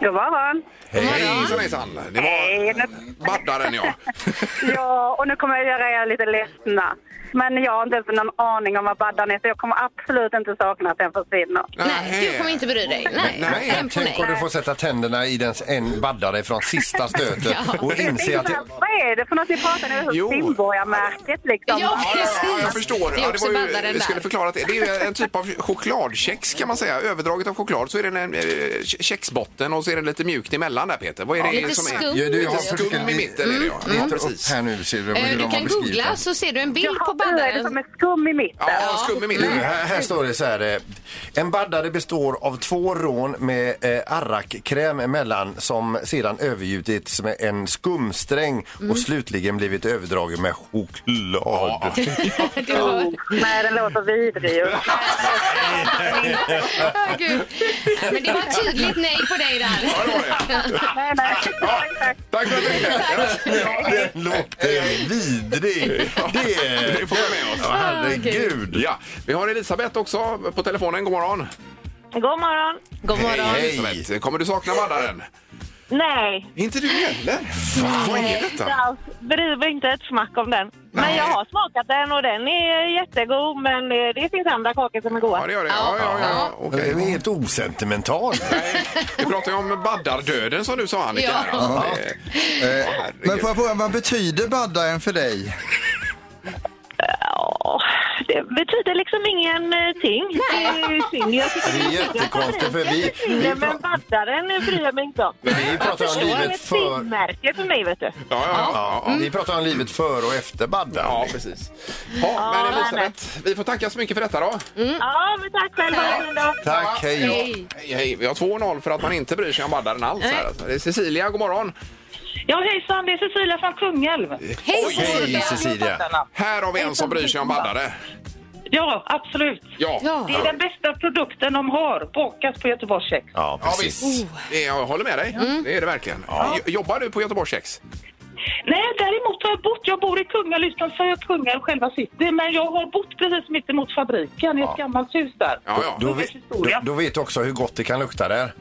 Speaker 7: God morgon.
Speaker 2: Hej. Hejsan hejsan. Det var
Speaker 7: Hej, nu,
Speaker 2: baddaren ja.
Speaker 7: ja, och nu kommer jag göra er lite ledsna. Men jag har inte ens någon aning om vad baddan är, så jag kommer absolut inte sakna att den försvinner.
Speaker 4: Nej, du kommer inte bry dig. Nej,
Speaker 2: Nej,
Speaker 4: en på
Speaker 3: Tänk om
Speaker 4: nej.
Speaker 3: du får sätta tänderna i den en baddare från sista stöten och
Speaker 7: Det
Speaker 3: inse
Speaker 7: är
Speaker 3: att...
Speaker 7: så här,
Speaker 3: Det...
Speaker 7: Vad är det för något ni pratar om?
Speaker 2: Jo.
Speaker 7: Simborgarmärket liksom.
Speaker 4: Ja,
Speaker 2: Ja, ja, ja, jag förstår.
Speaker 4: Det är
Speaker 2: Ja,
Speaker 4: också
Speaker 2: var ju-
Speaker 4: baddaren
Speaker 2: jag skulle
Speaker 4: där.
Speaker 2: förklara att det det är ju en typ av chokladkex kan man säga. Överdraget av choklad så är det en eh, ke- kexbotten och så är det lite mjukt emellan där Peter. Vad är det
Speaker 4: Lite
Speaker 2: som är?
Speaker 4: skum.
Speaker 3: Ja, du, jag
Speaker 2: Lite
Speaker 3: har försökt- Mm,
Speaker 2: skum i mitten är det ja. ja precis.
Speaker 3: Här nu ser du
Speaker 4: Eh,
Speaker 3: hur
Speaker 4: Du
Speaker 3: de har
Speaker 4: kan
Speaker 3: beskrivit
Speaker 4: googla
Speaker 3: den.
Speaker 4: så ser du en bild på
Speaker 7: Jaha, nu är det som
Speaker 4: baddaren.
Speaker 7: en skum i mitten.
Speaker 2: Ja, skum i
Speaker 3: Du,
Speaker 2: mitten.
Speaker 3: här, här står det så här. eh, En baddare består av två rån med eh, arrakkräm emellan som sedan övergjutits med en skumsträng
Speaker 4: Mm.
Speaker 3: och slutligen blivit överdragen med choklad.
Speaker 4: Du hör.
Speaker 7: Nej, den låter vidrig ju.
Speaker 4: Åh, Gud. Men det var ett tydligt nej på dig där.
Speaker 2: Ja, det var det.
Speaker 7: Nej, nej. Tack.
Speaker 2: Tack för att du ringde.
Speaker 3: Den låter vidrig. Det,
Speaker 2: Det får vi med oss.
Speaker 3: herregud.
Speaker 2: Ja, vi har Elisabeth också på telefonen. God morgon.
Speaker 7: God morgon.
Speaker 4: God morgon.
Speaker 3: Hej, hej.
Speaker 2: Elisabeth, kommer du sakna baddaren?
Speaker 7: Nej,
Speaker 2: Inte du heller? Vad är
Speaker 7: inte
Speaker 2: detta?
Speaker 7: alls. Bryr mig inte ett smack om den. Men jag har smakat den och den är jättegod. Men eh, det finns andra kakor som är
Speaker 2: Ja,
Speaker 7: goda.
Speaker 2: det gör det. Ja, ja, ja.
Speaker 3: Det
Speaker 2: Okej.
Speaker 3: är helt osentimental.
Speaker 2: Vi pratar ju om baddardöden som du sa Annika.
Speaker 4: Ja.
Speaker 2: här. Alltså, det-
Speaker 5: Eh, Men får jag fråga, vad betyder baddaren för dig?
Speaker 7: Ja, det betyder liksom ingenting. Det är synd. Jag tycker
Speaker 3: Det är jättekonstigt för vi,
Speaker 7: Nej, men vaddaren bryr jag mig inte om.
Speaker 3: vi pratar om
Speaker 7: Det är
Speaker 3: livet
Speaker 7: ett
Speaker 3: för...
Speaker 7: finmärke för mig, vet du.
Speaker 2: Ja, ja, ja.
Speaker 3: Vi pratar om livet före och efter baddaren.
Speaker 2: Ja, precis. Ja, men Elisabeth, vi får tacka så mycket för detta då.
Speaker 7: Ja, men tack själv. Ha en fin dag.
Speaker 3: Tack, hej.
Speaker 4: Hej.
Speaker 2: Hej, hej. Vi har 2-0 för att man inte bryr sig om baddaren alls. Här. alltså. Det är Cecilia, god morgon.
Speaker 7: Ja, hejsan. Det är Cecilia från Kungälv.
Speaker 4: Hej,
Speaker 3: Hej
Speaker 4: Cecilia.
Speaker 3: Cecilia.
Speaker 2: Här har vi en som bryr sig om baddare.
Speaker 7: Ja, absolut.
Speaker 2: Ja,
Speaker 4: Ja.
Speaker 7: Det är den bästa produkten de har, bakat på Göteborgskex.
Speaker 3: Ja,
Speaker 2: ja
Speaker 3: precis.
Speaker 2: visst.
Speaker 4: Oh.
Speaker 2: Det- Jag håller med dig.
Speaker 4: Mm.
Speaker 2: Det är det verkligen. Jo- Jobbar du på Göteborgs Kex?
Speaker 7: Nej, däremot har jag bott. Jag bor i Kungälv, utanför Kungälv själva city. Men jag har bott precis mitt emot fabriken i ett gammalt hus där.
Speaker 2: Ja, ja.
Speaker 3: Då, vet- då, då vet du också hur gott det kan lukta där.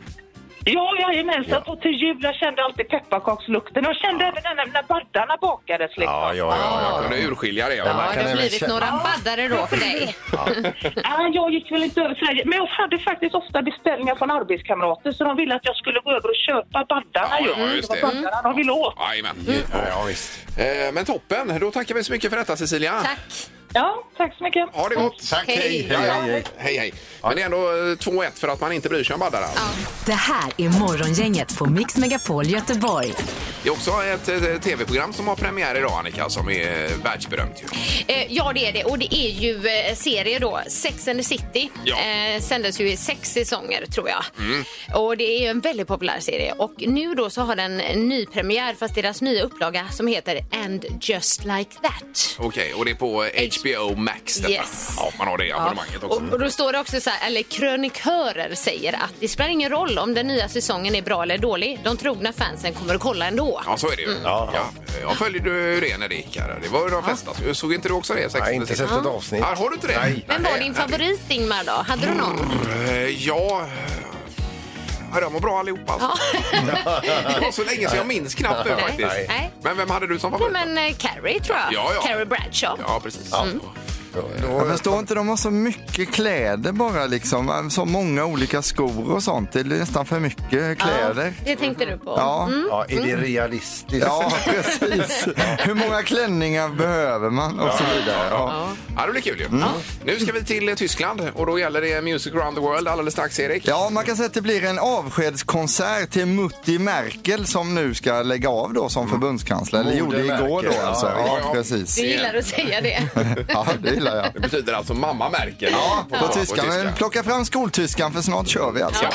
Speaker 7: Ja, jajamensan. Och till jul jag kände alltid pepparkakslukten. Jag kände även den när- när baddarna bakades. Liksom.
Speaker 3: Ja, ja, ja.
Speaker 2: Jag kunde urskilja det.
Speaker 4: Ja,
Speaker 2: Ja.
Speaker 4: det har
Speaker 3: även
Speaker 4: blivit
Speaker 3: känna-
Speaker 4: några baddare då för dig.
Speaker 7: Nej, jag gick väl inte över till det. Men jag hade faktiskt ofta beställningar från arbetskamrater så de ville att jag skulle gå över och köpa baddarna.
Speaker 2: Ja,
Speaker 7: ju.
Speaker 2: ja, just
Speaker 7: det
Speaker 2: det.
Speaker 7: var baddarna de ville åt.
Speaker 2: Jajamän.
Speaker 3: Ja, ja, visst.
Speaker 2: Eh, Men toppen, då tackar vi så mycket för detta Cecilia.
Speaker 4: Tack.
Speaker 7: Ja, tack så mycket.
Speaker 2: Ha det gott!
Speaker 3: Tack,
Speaker 4: Hej.
Speaker 3: hej,
Speaker 2: Ja,
Speaker 3: hej,
Speaker 2: ja.
Speaker 3: hej. hej.
Speaker 2: hej, hej. Men det är ändå eh, 2-1 för att man inte bryr sig om baddare. alltså.
Speaker 1: Det här är Morgongänget på Mix Megapol Göteborg.
Speaker 2: Det är också ett eh, tv-program som har premiär idag Annika, som är eh, världsberömt ju.
Speaker 4: Eh, ja, det är det. Och det är ju eh, serie då. Sex and the City
Speaker 2: Ja. Mm.
Speaker 4: eh, sändes ju i sex säsonger, tror jag. Och det är ju en väldigt populär serie. Och nu då så har den en ny premiär, fast deras nya upplaga som heter And just like that.
Speaker 2: Okej, och det är på HBO Max detta.
Speaker 4: Yes.
Speaker 2: Ja, man har det abonnemanget också.
Speaker 4: Och, och då står det också så här, eller krönikörer säger att det spelar ingen roll om den nya säsongen är bra eller dålig. De trogna fansen kommer att kolla ändå.
Speaker 2: Ja, så är det
Speaker 4: Mm.
Speaker 2: ju. Ja, Jag följde ju det när det gick här. Det var ju de flesta. Så- Såg inte du också det?
Speaker 3: Jag har inte sett ett avsnitt.
Speaker 2: Här, har du inte det?
Speaker 3: Nej.
Speaker 4: Vem var din favorit Ingmar då? Hade du någon?
Speaker 2: Eh, Ja... Ja, de var bra allihopa. Alltså. det var så länge så jag minns knappt nu
Speaker 4: Nej.
Speaker 2: faktiskt.
Speaker 4: Nej.
Speaker 2: Men vem hade du som
Speaker 4: Ja,
Speaker 2: favorit?
Speaker 4: men eh, Carrie tror jag.
Speaker 2: Ja, ja.
Speaker 4: Carrie Bradshaw.
Speaker 2: Ja, precis.
Speaker 3: Ja.
Speaker 2: Mm.
Speaker 5: Jag förstår inte, de har så mycket kläder bara liksom. Så många olika skor och sånt. Det är nästan för mycket kläder.
Speaker 4: Det tänkte du på?
Speaker 5: Ja.
Speaker 4: Mm.
Speaker 3: Ja, är det realistiskt?
Speaker 5: Ja, precis. Hur många klänningar behöver man och så vidare. Ja.
Speaker 2: Ja, det blir kul ju. Nu ska vi till eh, Tyskland och då gäller det Music around the world alldeles strax, Erik.
Speaker 5: Ja, man kan säga att det blir en avskedskonsert till Mutti Merkel som nu ska lägga av då som förbundskansler. Eller gjorde
Speaker 3: Moder
Speaker 5: igår då
Speaker 3: Merkel, ja,
Speaker 5: alltså.
Speaker 2: ja, ja.
Speaker 5: Ja, precis.
Speaker 4: Du gillar att säga det.
Speaker 5: Ja, det gillar jag.
Speaker 2: Det betyder alltså mamma märker.
Speaker 5: Ja,
Speaker 2: På-
Speaker 5: på
Speaker 2: på
Speaker 5: tyska. Men
Speaker 2: tyska.
Speaker 5: plocka fram skoltyskan för snart kör vi alltså.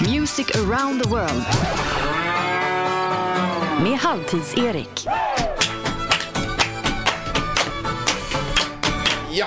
Speaker 1: Music around the world. Med Halvtids-Erik.
Speaker 2: Ja,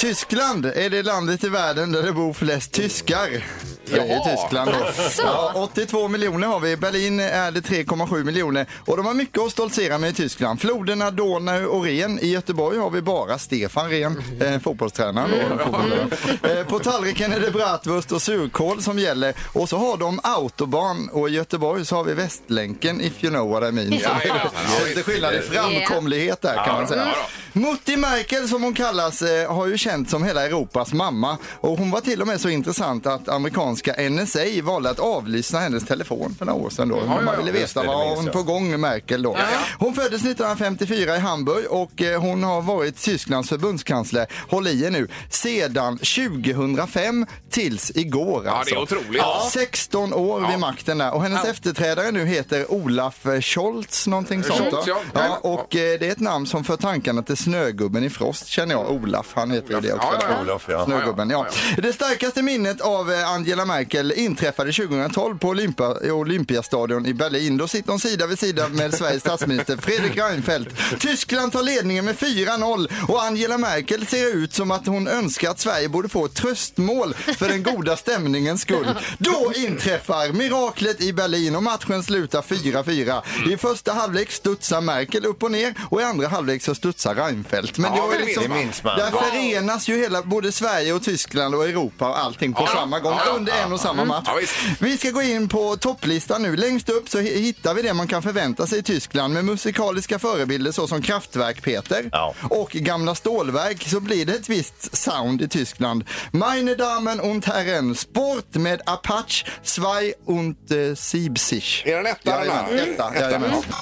Speaker 5: Tyskland är det landet i världen där det bor flest tyskar. Det är
Speaker 2: Jaha.
Speaker 5: i Tyskland då. Ja, 82 miljoner har vi. I Berlin är det 3,7 miljoner. Och de har mycket att stoltsera med i Tyskland. Floderna Donau och Ren. I Göteborg har vi bara Stefan Ren, eh, fotbollstränaren. då, fotbollsspelaren. Eh, på tallriken är det bratwurst och surkål som gäller. Och så har de autobahn och i Göteborg så har vi Västlänken if you know what I mean. Så-
Speaker 2: Jajamensan, ja,
Speaker 5: så lite skillnad i framkomlighet där
Speaker 2: Ja,
Speaker 5: kan man säga.
Speaker 2: ja,
Speaker 5: Mutti Merkel som hon kallas eh, har ju känt som hela Europas mamma och hon var till och med så intressant att amerikanska NSA valde att avlyssna hennes telefon för några år sedan då. man ville
Speaker 3: Just
Speaker 5: veta
Speaker 3: det, det
Speaker 5: vad
Speaker 3: minns
Speaker 5: hon
Speaker 3: jag.
Speaker 5: på gång Merkel då. Hon föddes 1954 i Hamburg och eh, hon har varit Tysklands förbundskansler, håll i er nu, sedan 2005 tills igår
Speaker 2: det är
Speaker 5: alltså.
Speaker 2: otroligt.
Speaker 5: Ja, 16 år vid makten där och hennes efterträdare nu heter Olaf eh, Scholz någonting sånt.
Speaker 2: Scholz,
Speaker 5: va?
Speaker 2: ja.
Speaker 5: ja, och eh, det är ett namn som för tankarna till snögubben i Frost känner jag. Olaf, han heter ju det också.
Speaker 2: Ja, ja, ja.
Speaker 3: Olof, ja.
Speaker 5: Snögubben, ja.
Speaker 2: Ja,
Speaker 5: Det starkaste minnet av eh, Angela Merkel inträffade 2012 på Olympa, i Olympiastadion i Berlin. Då sitter hon sida vid sida med Sveriges statsminister Fredrik Reinfeldt. Tyskland tar ledningen med 4-0 och Angela Merkel ser ut som att hon önskar att Sverige borde få ett tröstmål för den goda stämningens skull. Då inträffar miraklet i Berlin och matchen slutar 4-4. I första halvlek studsar Merkel upp och ner och i andra halvlek så studsar Reinfeldt. Men
Speaker 2: Ja,
Speaker 5: då är
Speaker 2: det
Speaker 5: liksom,
Speaker 2: minns man.
Speaker 3: Minns man.
Speaker 5: där förenas ju hela, både Sverige och Tyskland och Europa och allting på
Speaker 2: Ja,
Speaker 5: samma gång
Speaker 2: ja, ja,
Speaker 5: under en och samma match.
Speaker 2: Ja, visst.
Speaker 5: vi ska gå in på topplistan nu. Längst upp så hi- hittar vi det man kan förvänta sig i Tyskland med musikaliska förebilder såsom Kraftwerk, Peter,
Speaker 3: Ja.
Speaker 5: och gamla stålverk så blir det ett visst sound i Tyskland. Meine Damen und Herren, Sport med Apache, Zwei und eh, Siebzig.
Speaker 2: Är den etta, den här?
Speaker 5: Jajamän, etta,
Speaker 2: Etta,
Speaker 5: jajamän.
Speaker 2: ja.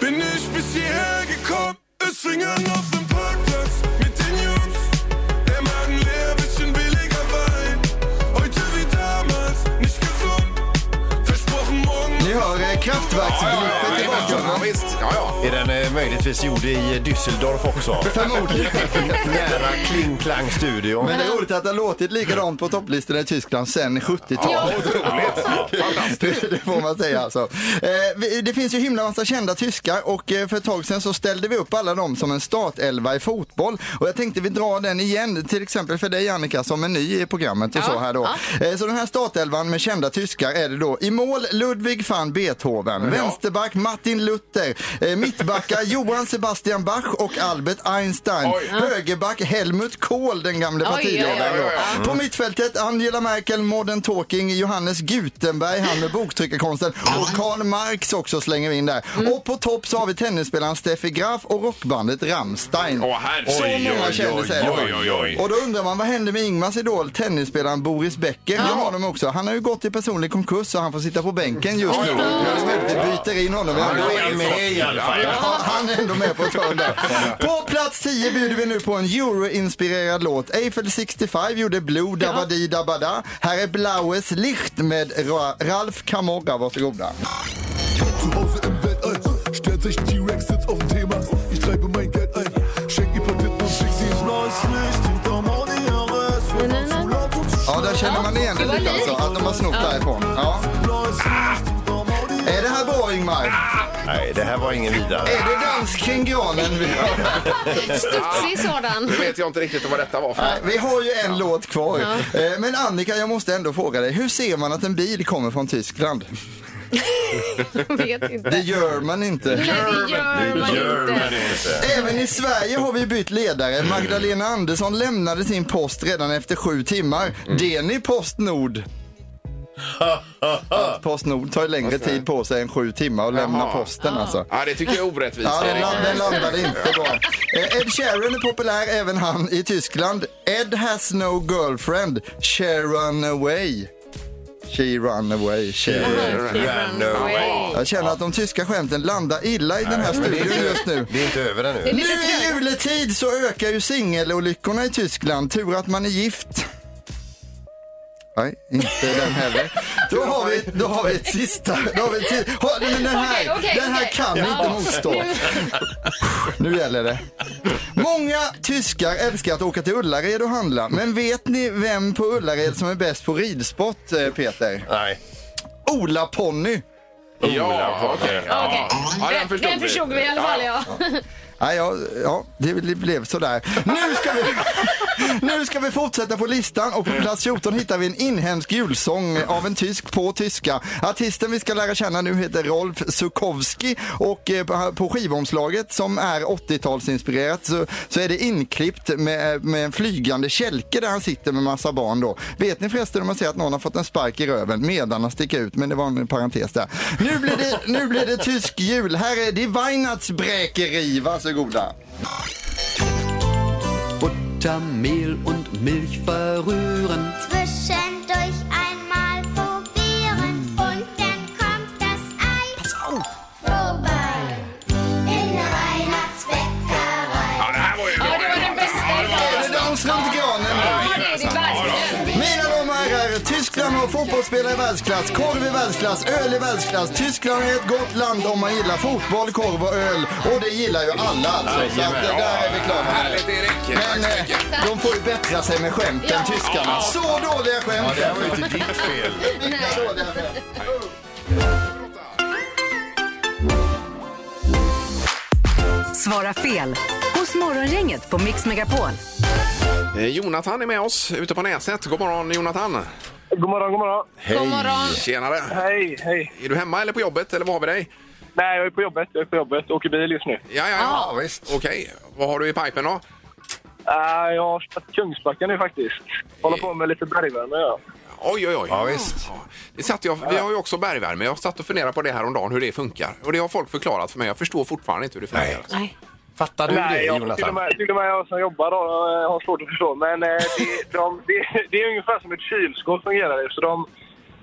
Speaker 10: Bin ich bis hierher gekommen, es fing an auf dem Parkplatz mit den Jungs. Der Magen leer, bisschen billiger Wein. Heute wie damals, nicht gesund. Versprochen morgen.
Speaker 5: Ni hör eh,
Speaker 2: Ja,
Speaker 5: Kraftwerksbegreppet i
Speaker 2: jajamensan,
Speaker 5: bakgrunden.
Speaker 2: ja, visst. Ja, ja.
Speaker 3: Är den eh, möjligtvis gjord i Düsseldorf också?
Speaker 5: Förmodligen.
Speaker 3: Nära Kling Klang studio.
Speaker 5: Men det är roligt att det har låtit likadant på topplistorna i Tyskland sedan 70-talet. Det, det får man säga alltså. Eh, vi- det finns ju himla massa kända tyskar och eh, för ett tag sedan så ställde vi upp alla dem som en startelva i fotboll. Och jag tänkte vi drar den igen, till exempel för dig Annika som är ny i programmet och så här då. Eh, så den här startelvan med kända tyskar är det då i mål Ludwig van Beethoven, vänsterback Martin Luther, eh, mittbackar Johann Sebastian Bach och Albert Einstein,
Speaker 2: Oj.
Speaker 5: högerback Helmut Kohl, den gamle
Speaker 4: Oj,
Speaker 5: partiledaren.
Speaker 2: oj,
Speaker 5: då. Mm.
Speaker 2: oj, oj.
Speaker 5: På mittfältet Angela Merkel, Modern Talking, Johannes Gutenberg, han med boktryckarkonsten och Karl Marx också slänger vi in där.
Speaker 2: Mm.
Speaker 5: Och på topp så har vi tennisspelaren Steffi Graf och rockbandet Rammstein.
Speaker 2: Åh, här-
Speaker 5: så
Speaker 2: oj,
Speaker 5: många
Speaker 2: oj,
Speaker 5: kändisar är det.
Speaker 2: oj, oj, oj.
Speaker 5: Och då undrar man vad hände med Ingmars idol tennisspelaren Boris Becker? Det har de också. Han har ju gått i personlig konkurs så han får sitta på bänken just nu. Vi byter in honom i andra
Speaker 2: Ja,
Speaker 3: är med i alla fall.
Speaker 2: Ja, ja.
Speaker 5: Ja, han är ändå med på ett hörn där. På plats 10 bjuder vi nu på en Euro-inspirerad låt. Eiffel 65 gjorde Blue Dabadi Dabada. Här är Blaues Licht med Ra- Ralf Camorra. Varsågoda.
Speaker 10: Zu Hause im Weltall, stört sich T-Rex sitzt auf dem Thema. Ich treibe mein Geld ein, schenk ihr Patenten und schick sie ins Neues Licht. Hinterm Audi RS, wenn man zu laut und zu
Speaker 5: Ja, där känner man igen det
Speaker 4: det var
Speaker 5: lite alltså,
Speaker 4: likt.
Speaker 5: att de har snott därifrån. Ja.
Speaker 10: neues Licht. Hinterm Audi
Speaker 5: Är det här bra Ingmar?
Speaker 3: Nej, det här var ingen vidare.
Speaker 5: Är det dans kring granen? vi har?
Speaker 4: Studsig sådan.
Speaker 2: Nu vet jag inte riktigt vad detta var för
Speaker 5: Nej, Vi har ju en låt kvar. Eh, Men Annika, jag måste ändå fråga dig. Hur ser man att en bil kommer från Tyskland?
Speaker 4: Jag vet inte.
Speaker 5: Det gör man inte.
Speaker 4: Nej, det gör man inte.
Speaker 5: Även i Sverige har vi bytt ledare. Magdalena Andersson lämnade sin post redan efter sju timmar. Det är ni Postnord. Att Postnord tar ju längre tid på sig än sju timmar att lämna
Speaker 2: Jaha.
Speaker 5: posten alltså.
Speaker 2: Ja, det tycker jag är orättvist.
Speaker 5: Ja, den,
Speaker 2: Erik.
Speaker 5: la- den landade inte bra. Eh, Ed Sheeran är populär även han i Tyskland. Ed has no girlfriend, she run away. She run away, she run away.
Speaker 3: Ran away.
Speaker 5: Jag känner att de tyska skämten landar illa i den här
Speaker 3: Nej, men det är
Speaker 5: studion
Speaker 3: inte-
Speaker 5: just nu.
Speaker 3: Det är inte över ännu.
Speaker 5: Nu i juletid så ökar ju singelolyckorna i Tyskland. Tur att man är gift. Nej, inte den heller. Då har vi, då har vi ett sista. Då har vi ett sista. Ha, nej, men den här,
Speaker 10: Okej, okej,
Speaker 5: den här
Speaker 10: okej.
Speaker 5: kan
Speaker 10: Ja.
Speaker 5: inte motstå. Nu gäller det. Många tyskar älskar att åka till Ullared och handla. Men vet ni vem på Ullared som är bäst på ridsport, eh, Peter?
Speaker 3: Nej.
Speaker 5: Ola Ponny.
Speaker 2: Ja, okej. Ja. Ja, den förstod,
Speaker 4: Den förstod vi i alla fall, ja.
Speaker 5: Nej, ja, ja, det blev sådär. Nu ska, vi, nu ska vi fortsätta på listan och på plats 14 hittar vi en inhemsk julsång av en tysk på tyska. Artisten vi ska lära känna nu heter Rolf Zukowski och eh, på- på skivomslaget som är 80-talsinspirerat så, så är det inklippt med, med en flygande kälke där han sitter med massa barn då. Vet ni förresten om man säger att någon har fått en spark i röven medan han sticker ut, men det var en parentes där. Nu blir det, nu blir det tysk jul. Här är Die Weihnachtsbräkeri. Varsågoda.
Speaker 11: Butter, Mehl und Milch verrühren.
Speaker 10: Zwischendurch einmal probieren und dann kommt das Ei vorbei in der Weihnachtsbäckerei.
Speaker 2: Ja, det här var ju bra.
Speaker 10: det var den bästa
Speaker 5: Är det dans runt granen? Mina damer och herrar, Tyskland har fotbollsspelare i världsklass, korv i världsklass, öl i världsklass. Tyskland är ett gott land om man gillar fotboll, korv och öl. Och det gillar ju alla alltså. Så att det där är vi klara med.
Speaker 2: Härligt Erik. Tack så mycket.
Speaker 5: eh, De får ju bättra sig med skämten, tyskarna. Så dåliga skämt!
Speaker 3: Ja, det här var ju inte ditt fel.
Speaker 5: Inga dåliga skämt.
Speaker 1: Svara fel hos Morgongänget på Mix Megapol.
Speaker 2: Eh, Jonathan är med oss ute på Näset. God morgon Jonathan.
Speaker 6: God morgon, god morgon.
Speaker 2: Hej.
Speaker 6: God morgon.
Speaker 2: Tjenare.
Speaker 6: Hej, hej.
Speaker 2: Är du hemma eller på jobbet eller var har vi dig?
Speaker 6: Nej, jag är på jobbet. Jag är på jobbet. Åker bil just nu.
Speaker 2: Ja, ja, ja. visst. Okej. Vad har du i pipen då?
Speaker 6: Äh, jag har startat Kungsbacka nu faktiskt. Håller på med lite bergvärme, ja.
Speaker 2: Oj, oj, oj. Ja, visst. Det satt jag, vi har ju också bergvärme. Jag satt och funderade på det här om dagen hur det funkar. Och det har folk förklarat för mig. Jag förstår fortfarande inte hur det funkar.
Speaker 4: Nej.
Speaker 3: Fattar du
Speaker 6: Nej,
Speaker 3: det
Speaker 6: jag,
Speaker 3: Jonathan?
Speaker 6: Till och, med, till och med jag som jobbar då, eh, har svårt att förstå. Men eh, det, de, det, det är ungefär som ett kylskåp fungerar det. Så de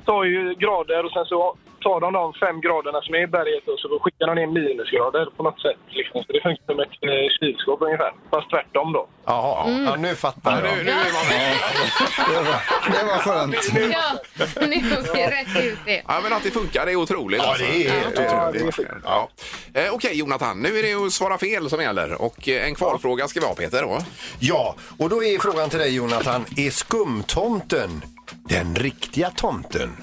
Speaker 6: tar ju grader och sen så tar de de fem graderna som är i berget och så skickar de ner minusgrader på något sätt. Liksom. Så det funkar som ett eh, kylskåp ungefär. Fast tvärtom då.
Speaker 3: Jaha,
Speaker 2: Mm.
Speaker 3: ja, nu fattar jag.
Speaker 5: Det var skönt.
Speaker 4: Ja, nu åker vi rätt ut det.
Speaker 2: Ja, men att det funkar det är otroligt. alltså. Ja,
Speaker 3: det är helt
Speaker 2: otroligt. Ja. Eh, Okej, Jonathan. Nu är det att svara fel som gäller. Och eh, en kvalfråga ska vi ha, Peter. Då.
Speaker 3: Ja, och då är frågan till dig Jonathan. Är skumtomten den riktiga tomten?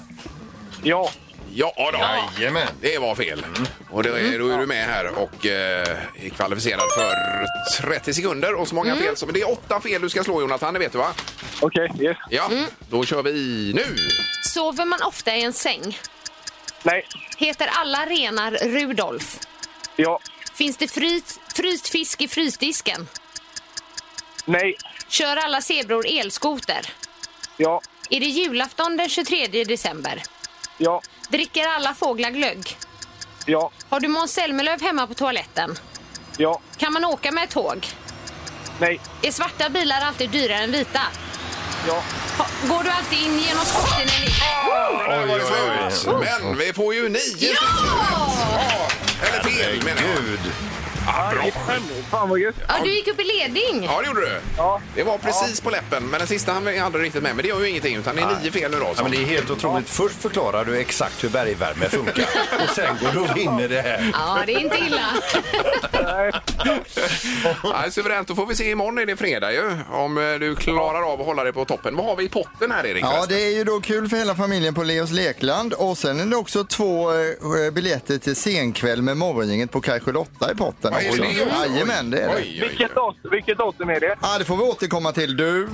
Speaker 6: Ja.
Speaker 2: Ja, då.
Speaker 3: Jajamän.
Speaker 2: Det var fel. Och då är, då är du med här och eh, är kvalificerad för 30 sekunder. Och så många fel som... Det är åtta fel du ska slå, Jonathan. Det vet du, va?
Speaker 6: Okej, yes.
Speaker 2: Ja, då kör vi nu.
Speaker 4: Sover man ofta i en säng?
Speaker 6: Nej.
Speaker 4: Heter alla renar Rudolf?
Speaker 6: Ja.
Speaker 4: Finns det fryst, fryst fisk i frysdisken?
Speaker 6: Nej.
Speaker 4: Kör alla zebror elskoter?
Speaker 6: Ja.
Speaker 4: Är det julafton den 23 december?
Speaker 6: Ja.
Speaker 4: Dricker alla fåglar glögg?
Speaker 6: Ja.
Speaker 4: Har du Måns Zelmerlöw hemma på toaletten?
Speaker 6: Ja.
Speaker 4: Kan man åka med tåg?
Speaker 6: Nej.
Speaker 4: Är svarta bilar alltid dyrare än vita?
Speaker 6: Ja.
Speaker 4: Ha, går du alltid in genom skorstenen? i-
Speaker 2: Där var det slut.
Speaker 10: oj, oj.
Speaker 2: Men vi får ju nio
Speaker 10: Ja!
Speaker 2: Eller fel, menar jag. Gud! Ah, bra.
Speaker 6: Fan vad gött.
Speaker 4: Ja, du gick upp i ledning.
Speaker 2: Ja, det gjorde du.
Speaker 6: Ja.
Speaker 2: Det var precis på läppen, men den sista hann vi aldrig riktigt med. Men det gör ju ingenting, utan det är nio fel nu då.
Speaker 3: Ja, men det är helt otroligt. Först förklarar du exakt hur bergvärme funkar och sen går du och vinner det här.
Speaker 4: Ja, det är inte illa.
Speaker 2: Nej, suveränt. Då får vi se. Imorgon är det fredag ju. Om eh, du klarar av att hålla dig på toppen. Vad har vi i potten här, Erik?
Speaker 5: Ja, det är ju då kul för hela familjen på Leos Lekland. Och sen är det också två eh, biljetter till senkväll med Morgongänget på Kaj 8 i potten. Ja,
Speaker 12: är det?
Speaker 5: Jajamän, det är det.
Speaker 6: Vilket, datum, vilket datum är det?
Speaker 5: Ja, det får vi återkomma till. Du!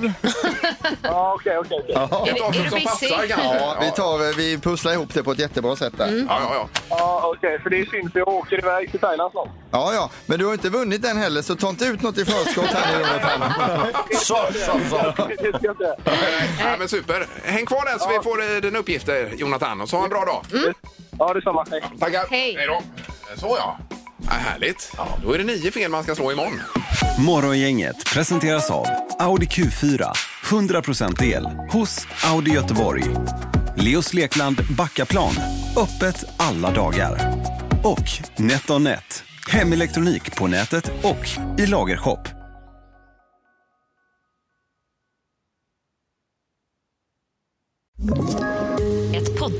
Speaker 6: Ja, okej, okej. okej.
Speaker 5: Ja.
Speaker 6: Ett datum som passar kanske?
Speaker 5: Ja, vi, tar, eh, vi pusslar ihop det på ett jättebra sätt där.
Speaker 6: Ja, ja, ja. Ja, okej, för det är synd för jag åker iväg till Thailand snart.
Speaker 5: Ja, ja, men du har inte vunnit den heller så ta inte ut något i förskott här nu.
Speaker 6: Så, så, så. Det ska jag inte.
Speaker 2: Ja, men super. Häng kvar där så vi får eh, dina uppgifter, Jonathan. Och så ha en bra dag.
Speaker 6: Ja, detsamma. Hej.
Speaker 2: Tackar.
Speaker 4: Hej.
Speaker 2: Hej då. Så ja. ja härligt. Då är det nio fel man ska slå imorgon.
Speaker 3: Morgongänget presenteras av Audi Q4. 100% el hos Audi Göteborg. Leos Lekland Backaplan. Öppet alla dagar. Och NetOnNet. Hemelektronik på nätet och i lagershop.
Speaker 1: Ett